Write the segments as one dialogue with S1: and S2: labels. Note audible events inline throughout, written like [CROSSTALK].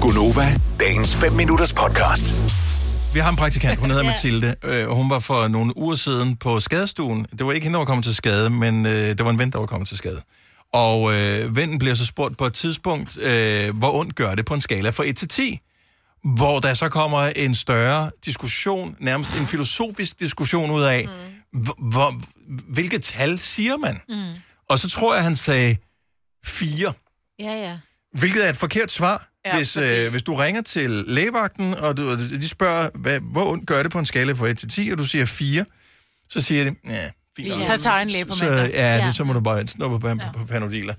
S1: Gunova, dagens 5 minutters podcast.
S2: Vi har en praktikant, hun hedder Mathilde, øh, og hun var for nogle uger siden på skadestuen. Det var ikke hende, der var kommet til skade, men øh, det var en ven, der var kommet til skade. Og øh, vennen bliver så spurgt på et tidspunkt, øh, hvor ondt gør det på en skala fra 1 til 10? Hvor der så kommer en større diskussion, nærmest en filosofisk diskussion ud af, mm. hvor, hvilke tal siger man? Mm. Og så tror jeg, han sagde 4.
S3: Ja, ja.
S2: Hvilket er et forkert svar. Ja,
S4: Ja,
S2: hvis,
S4: fordi-
S2: øh, hvis du ringer til lægevagten, og du, de spørger, hvad, hvor ondt gør det på en skala fra 1 til 10, og du siger 4, så siger de, ja, fint.
S3: Ja.
S2: nok."
S4: Så tager jeg en læge på
S2: Så,
S4: mandag.
S2: ja, ja.
S3: Ja.
S2: Det, så må du bare snuppe på, ja. på panodiler.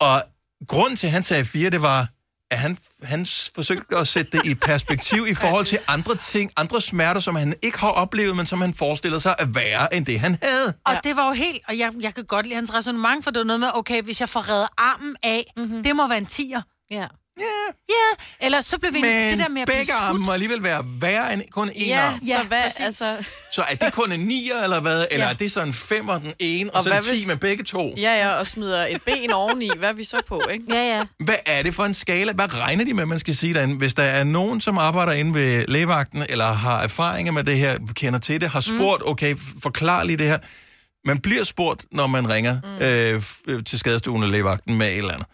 S2: Og grunden til, at han sagde 4, det var, at han, han s- forsøgte at sætte det i perspektiv i forhold til andre ting, andre smerter, som han ikke har oplevet, men som han forestillede sig at være end det, han havde.
S4: Og det var jo helt, og jeg, jeg kan godt lide hans resonemang, for det var noget med, okay, hvis jeg får reddet armen af,
S5: Mhm.
S4: mm-hmm. det må være en tiger.
S3: ja.
S2: Ja,
S4: Ja, eller så blev vi det
S2: men
S4: der med at blive
S2: begge arme må
S4: skudt.
S2: alligevel være værre end kun en
S5: Ja,
S2: arm.
S5: så
S4: Ja,
S5: hvad,
S4: præcis.
S5: altså...
S2: Så er det kun en nier, eller hvad? Eller
S4: Ja.
S2: er det så en femmer, den ene, og, og
S5: Og
S2: så en
S5: hvad
S2: ti
S5: hvis-
S2: med begge to? Ja.
S5: Ja, ja, og smider et ben oveni. Hvad er vi så på, ikke?
S3: Ja, ja.
S2: Hvad er det for en skala? Hvad regner de med, man skal sige derinde? Hvis der er nogen, som arbejder inde ved lægevagten, eller har erfaringer med det her, kender til det, har spurgt, mm. okay, forklar lige det her. Man bliver spurgt, når man ringer mm. øh, f- øh, til skadestuen eller lægevagten med et eller andet.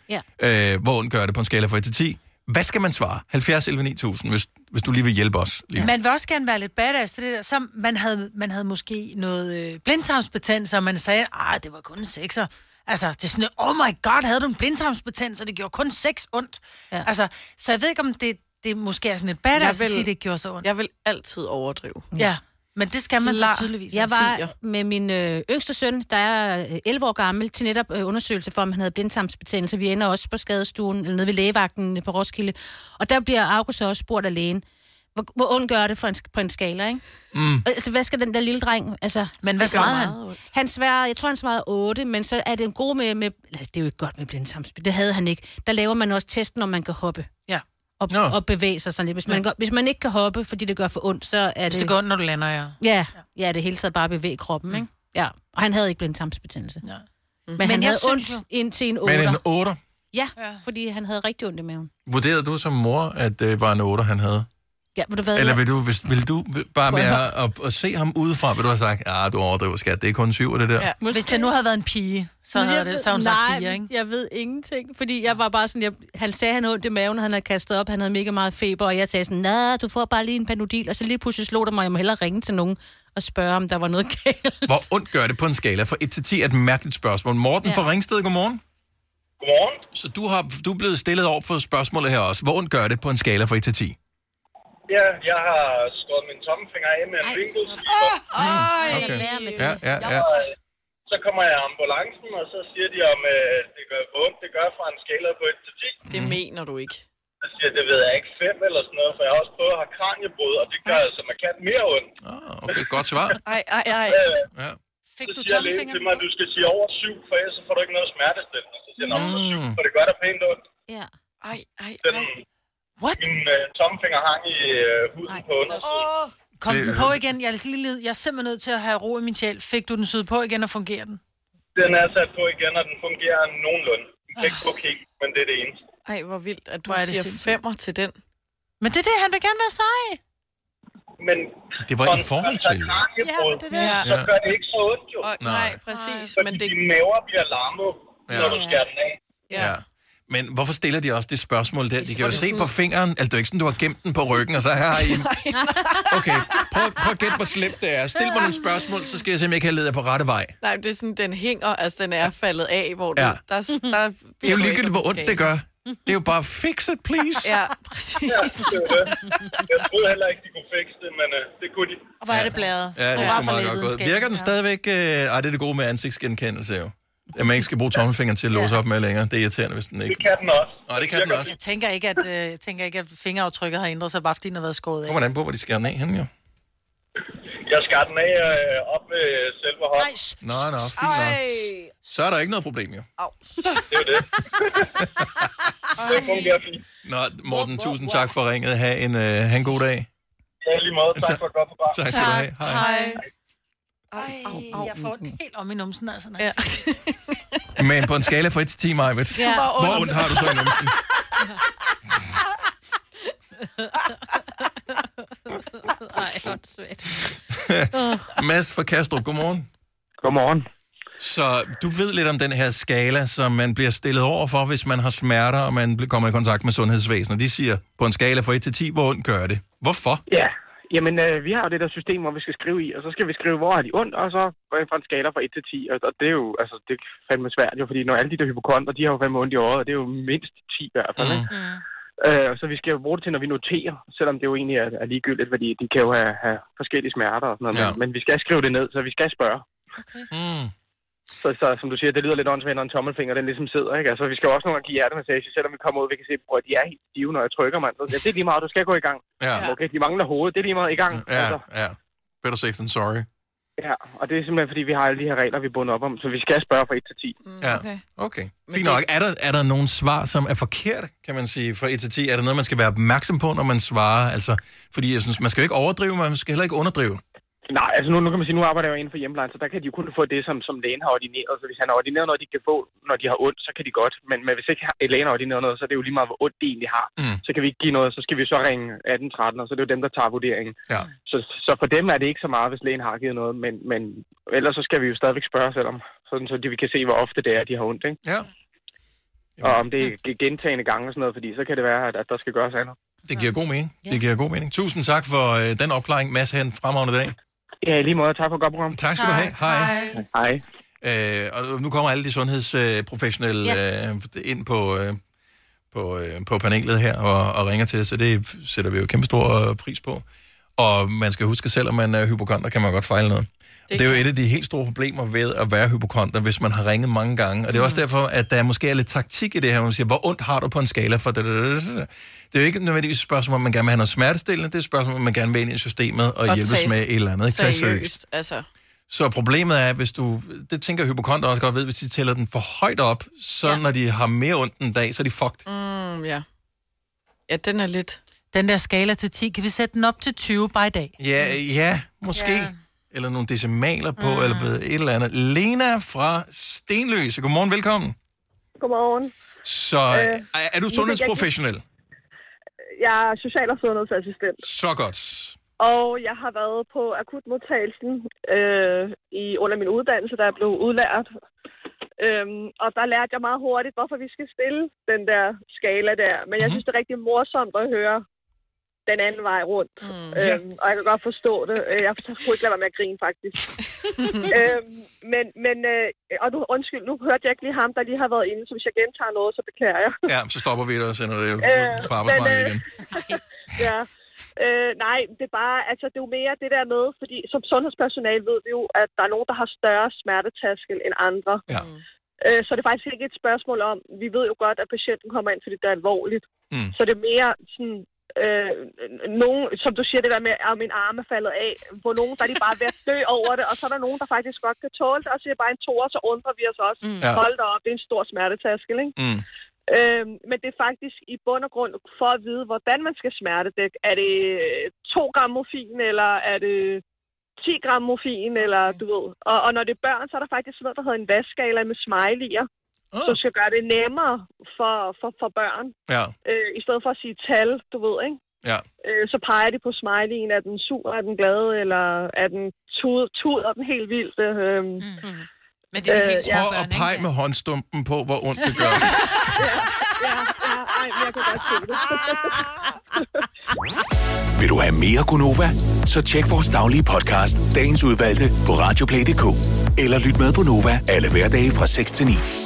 S3: Ja.
S2: Øh, hvor ondt gør det på en skala fra 1 til 10? Hvad skal man svare? 70 11 9000, hvis, hvis du lige vil hjælpe os. Lige.
S4: Man vil også gerne være lidt badass til det der. Så man havde, man havde måske noget øh, blindtarmsbetændelse, og man sagde, ah, det var kun en sekser. Altså, det er sådan, oh my god, havde du en blindtarmsbetændelse, og det gjorde kun seks ondt. Ja.
S3: Ja.
S4: Altså, så jeg ved ikke, om det, det måske er sådan et badass
S5: Jeg
S4: vil... at
S5: vil-
S4: sige, det gjorde så ondt. Ja,
S5: Jeg vil altid overdrive.
S4: ja. men det skal man så
S5: Klar.
S4: tydeligvis.
S3: Jeg
S4: også.
S5: tier.
S3: var med min øh, yngste søn, der er øh, 11 år gammel, til netop øh, undersøgelse for, om han havde blindtarmsbetændelse. Vi ender også på skadestuen, eller nede ved lægevagten øh, på Roskilde. Og der bliver August også spurgt af lægen, hvor, hvor ondt gør det for en, sk- på en skala, ikke? Mm. Altså, hvad skal den der lille dreng... Altså,
S4: Men hvad
S3: det gør
S4: svarede han?
S3: meget ondt. Han svarede, jeg tror, han svarede 8, men så er det en god med... med eller, det er jo ikke godt med blindtarmsbetændelse. Det havde han ikke. Der laver man også testen, om man kan hoppe
S4: Ja.
S3: og,
S2: Nå.
S3: og bevæge sig sådan lidt. Hvis man, ja. hvis man ikke kan hoppe, fordi det gør for ondt, så er
S4: Hvis det går ondt, når du lander, ja.
S3: Ja, ja det hele taget bare bevæge kroppen, mm. ikke? Ja, og han havde ikke blindtarmsbetændelse.
S4: Ja.
S3: Men, Men han
S4: jeg
S3: havde ondt
S4: synes jo-
S3: ind til en 8.
S2: Men en 8.
S3: Ja, fordi han havde rigtig ondt i maven.
S2: Vurderede du som mor, at det var en 8, han havde?
S3: Ja, ved du hvad?
S2: Eller
S3: jeg-
S2: vil du, hvis, vil du bare med Altså- at, at, at se ham udefra, vil du have sagt, ja, du overdriver skat, det er kun syv, det der. Ja.
S5: Ja.
S4: Hvis det nu havde været en pige, så
S3: Men
S4: havde
S3: jeg
S4: det,
S3: ved-
S4: så havde hun
S3: Nej,
S4: sagt fire, ikke?
S3: jeg ved ingenting, fordi jeg var bare sådan, jeg, han sagde, han havde ondt i maven, og han havde kastet op, han havde mega meget feber, og jeg sagde sådan, nej, du får bare lige en panodil, og så lige pludselig slog det mig, jeg må hellere ringe til nogen og spørge, om der var noget galt.
S2: Hvor ondt gør det på en skala? Fra 1 til 10 er et mærkeligt spørgsmål. Morten ja.
S3: Ja.
S2: fra Ringsted, godmorgen.
S6: Godmorgen.
S2: Så du, har, du er blevet stillet over for spørgsmålet her også. Hvor ondt gør det på en skala fra 1 til 10?
S6: Ja, jeg har skåret min tommelfinger af med en
S3: Ej.
S6: vinkel.
S5: Ej,
S2: okay.
S3: Lad være med det.
S2: Ja, ja, ja.
S6: Så kommer jeg i ambulancen, og så siger de, om øh, det gør hvor ondt. Det gør fra en skala på 1 til 10.
S2: Mhm.
S5: det mener du ikke.
S6: Så siger jeg, det ved jeg ikke, 5 eller sådan noget, for jeg har også prøvet at have kranjebrud, og det gør altså markant mere ondt.
S2: Ah, okay, godt svar.
S5: Ej, ej, ej.
S6: Øh,
S2: Ja.
S4: Fik
S6: så
S4: du
S6: siger lægen
S4: tommelfingeren?
S6: til mig, at du skal sige over 7, for ellers så får du ikke noget smertestillende. Så siger jeg, "Nå, så 7, for det gør da pænt ondt.
S3: Ja.
S5: Ej, ej,
S6: Den,
S5: ej.
S4: What?
S6: min øh, tommelfinger hang i øh, huden
S3: Ej.
S6: på undersiden.
S5: Åh,
S4: Kom
S2: Det-
S4: den på igen. Jeg er, lige, lidt- jeg er simpelthen nødt til at have ro i min sjæl. Fik du den syet på igen, og fungerer den?
S6: Den er sat på igen, og den fungerer nogenlunde. Den kan ikke gå helt, men det er det eneste.
S5: ej, hvor vildt, at du
S4: Hvor er det
S5: siger
S4: sindssygt.
S5: femmer til den.
S4: Men det er det, han vil gerne være sej.
S6: Men altså,
S2: Det var i forhold til.
S6: Kranjebrud,
S5: Ja.
S6: så gør det ikke så ondt jo.
S5: Og,
S2: Nej.
S5: nej, præcis,
S6: Fordi
S5: men det...
S6: dine maver bliver larmet,
S2: Ja.
S6: når du skærer den af.
S2: Ja. Men hvorfor stiller de også det spørgsmål der? De kan jo
S5: det
S2: se
S5: sådan-
S2: på fingeren, altså det er jo ikke sådan, du har gemt den på ryggen, og så her har I... Okay, prøv, prøv at gætte, hvor slemt det er. Stil mig nogle spørgsmål, så skal jeg se, om jeg kan lede jer på rette vej.
S5: Nej, det er sådan, den hænger, altså den er faldet af, hvor du...
S2: Ja.
S5: Ja. Der, der
S2: Det er jo ligegyldigt, hvor ondt det gør. Det er jo bare, fix it, please.
S5: Ja,
S4: [LAUGHS]
S5: præcis.
S6: Det er jo det. Jeg troede heller ikke, de kunne fikse det, men øh, det kunne de.
S4: Og hvor er det bladet?
S2: Ja, det er sgu meget godt gået. Virker den stadigvæk... Øh, ej, det er det gode med ansigtsgenkendelse jo. At man ikke skal bruge tommelfingeren til at låse op med længere. Det er irriterende, hvis den
S6: Det
S2: ikke...
S6: kan den også.
S2: Nå, det kan den også.
S4: Jeg tænker ikke, at, øh, jeg tænker ikke, at fingeraftrykket har ændret sig, bare fordi den har været skåret af.
S2: Kommer an på, hvor de skærer den af henne jo.
S6: Jeg skar den af øh, op ved selve
S4: Nej,
S6: hånden.
S4: s-
S2: Nå, nå, fint nok.
S5: Ej,
S2: Så er der ikke noget problem jo.
S6: Det er jo det. det fungerer fint.
S2: Nå, Morten, tusind tak for ringet. Ha' en, øh, ha en god dag.
S6: Ja, i lige måde. Tak for et godt program.
S2: Tak skal du have. Hej.
S5: ej.
S4: Ej, jeg får den helt om i numsen, altså. Når
S5: Ja.
S4: jeg siger
S2: Men på en skala fra 1 til 10, Majbet.
S3: Ja.
S2: Hvor ondt har du så i numsen?
S3: åndssvagt.
S2: Mads fra Kastrup, godmorgen.
S7: Godmorgen.
S2: Så du ved lidt om den her skala, som man bliver stillet over for, hvis man har smerter, og man bl- kommer i kontakt med sundhedsvæsenet. De siger, på en skala fra 1 til 10, hvor ondt gør det? Hvorfor?
S7: Ja, jamen øh, vi har jo det der system, hvor vi skal skrive i, og så skal vi skrive, hvor har de ondt, og så går jeg fra en skala fra 1 til 10, og, og det er jo, altså, det er fandme svært jo, fordi når alle de der hypokonter, de har jo fandme ondt i øjet, og det er jo mindst 10 i hvert fald, ikke? Øh, så vi skal jo bruge det til, når vi noterer, selvom det jo egentlig er, er ligegyldigt, fordi de kan jo have, have forskellige smerter og sådan noget,
S2: Ja.
S7: ja. men, men vi skal skrive det ned, så vi skal spørge.
S3: Okay.
S2: Mm.
S7: Så, så som du siger, det lyder lidt åndssvagt, når en tommelfinger den ligesom sidder, ikke? Altså, vi skal jo også nogle gange give hjertemassage, selvom vi kommer ud, vi kan se, at de er helt stive, når jeg trykker, mand. Så, ja, det er lige meget, du skal gå i gang.
S2: Ja,
S5: Ja.
S7: Okay, de mangler hovedet, det er lige meget i gang. Altså,
S2: ja, ja. Better safe than sorry.
S7: Ja, og det er simpelthen, fordi vi har alle de her regler, vi er bundet op om, så vi skal spørge fra 1 til 10.
S2: Ja.
S5: Okay.
S2: Okay,
S5: Men
S2: fint
S5: det-
S2: nok. Er der, er der nogle svar, som er forkerte, kan man sige, fra 1 til 10? Er der noget, man skal være opmærksom på, når man svarer? Altså, fordi jeg synes, man skal jo ikke overdrive, men man skal heller ikke underdrive.
S7: Nej, altså nu, nu kan man sige, nu arbejder jeg jo inden for hjemmeplejen, så der kan de jo kun få det, som, som lægen har ordineret. Så hvis han har ordineret noget, de kan få, når de har ondt, så kan de godt. Men, men hvis ikke har- lægen har ordineret noget, så er det jo lige meget, hvor ondt de egentlig har.
S2: Mm.
S7: Så kan vi ikke give noget, så skal vi så ringe 1813, og så er det jo dem, der tager vurderingen.
S2: Ja.
S7: Så, så for dem er det ikke så meget, hvis lægen har givet noget, men, men ellers så skal vi jo stadigvæk spørge selvom, sådan, så de, vi kan se, hvor ofte det er, de har ondt. Ikke?
S2: Ja,
S7: Og om det er gentagende gange og sådan noget, fordi så kan det være, at, at der skal gøres andet.
S2: det giver god mening.
S3: Ja.
S2: Det giver god mening. Tusind tak for øh, den opklaring, Mads Hen. Fremragende dag.
S7: Ja, i lige måde. Tak for et godt program.
S2: Tak skal du have. Hej.
S7: Hej.
S2: Øh, og nu kommer alle de sundhedsprofessionelle øh, ind på, øh, på, øh, på panelet her og, og ringer til, så det sætter vi jo kæmpe stor øh, pris på. Og man skal huske, selvom man er hypokonter, kan man godt fejle noget. Det, det er jo et af de helt store problemer ved at være hypokonter, hvis man har ringet mange gange. Og det er også derfor, at der måske er lidt taktik i det her, hvor man siger, hvor ondt har du på en skala for det? Det er jo ikke nødvendigvis et spørgsmål, om man gerne vil have noget smertestillende, det er et spørgsmål, om man gerne vil ind i systemet og, og hjælpes
S5: tages
S2: med et eller andet. Ikke? Tag
S5: Seriøst, altså.
S2: så problemet er, at hvis du, det tænker hypokonter også godt ved, hvis de tæller den for højt op, så ja.
S3: Ja.
S2: når de har mere ondt en dag, så er de fucked. Mm.
S5: Mm, ja. Ja, den er lidt...
S4: Den der skala til 10, kan vi sætte den op til 20 bare i dag?
S2: Ja, ja, måske. Ja.
S5: Ja.
S2: Eller nogle decimaler på, mm. eller ved et eller andet. Lena fra Stenløse, godmorgen, velkommen.
S8: Godmorgen.
S2: Så øh, er, er du sundhedsprofessionel?
S8: Jeg er social- og sundhedsassistent,
S2: Så godt.
S8: og jeg har været på akutmodtagelsen øh, i, under min uddannelse, der jeg blev udlært. Øhm, og der lærte jeg meget hurtigt, hvorfor vi skal stille den der skala der. Men jeg
S2: Mhm.
S8: synes, det er rigtig morsomt at høre den anden vej rundt. Mm,
S2: Ja.
S8: øhm, og jeg kan godt forstå det. Øh, Jeg kunne ikke lade være med at grine,
S2: [LAUGHS]
S8: faktisk. øhm, men, men øh, og nu, undskyld, nu hørte jeg ikke lige ham, der lige har været inde, så hvis jeg gentager noget, så beklager jeg.
S2: Ja, så stopper vi det og sender det øh,
S8: Øh,
S2: på arbejdsmarkedet
S8: men, øh,
S2: igen.
S8: [LAUGHS] Ja. Øh, nej, det er bare, altså det er jo mere det der med, fordi som sundhedspersonale ved vi jo, at der er nogen, der har større smertetaskel end andre.
S2: Ja.
S8: Øh, så det er faktisk ikke et spørgsmål om, vi ved jo godt, at patienten kommer ind, fordi det er alvorligt.
S2: Mm.
S8: Så det er mere sådan, øh, nogen, som du siger det der med, at min arm er faldet af, hvor nogen, der er de bare ved at dø over det, og så er der nogen, der faktisk godt kan tåle det, og så er det bare en toer, så undrer vi os også.
S5: Mm.
S2: Ja.
S8: Ja. Hold da op, det er en stor smertetaskel, ikke?
S2: Mm.
S8: Øhm, men det er faktisk i bund og grund for at vide, hvordan man skal smertedække. Er det øh, 2 gram morfin, eller er det 10 gram morfin, eller du ved. Og, og når det er børn, så er der faktisk noget, der hedder en vaskskala med smiley'er,
S2: Ah.
S8: som skal gøre det nemmere for, for, for børn.
S2: Ja,
S8: Øh, I stedet for at sige tal, du ved, ikke?
S2: ja.
S8: Øh, så peger de på smiley'en. Er den sur, er den glad, eller er den tud, tuder den helt vildt? Øh, mm.
S4: Men det er de
S8: Øh,
S4: helt små
S2: Prøv
S4: børn,
S2: at pege
S4: ikke?
S2: med håndstumpen på, hvor ondt det
S8: [LAUGHS]
S2: gør.
S8: Ja, ja, ej, men jeg kan godt se det.
S1: Vil du have mere Gunova? Så tjek vores daglige podcast, dagens udvalgte, på radioplay.dk. Eller lyt med på Nova alle hverdage fra 6 til 9.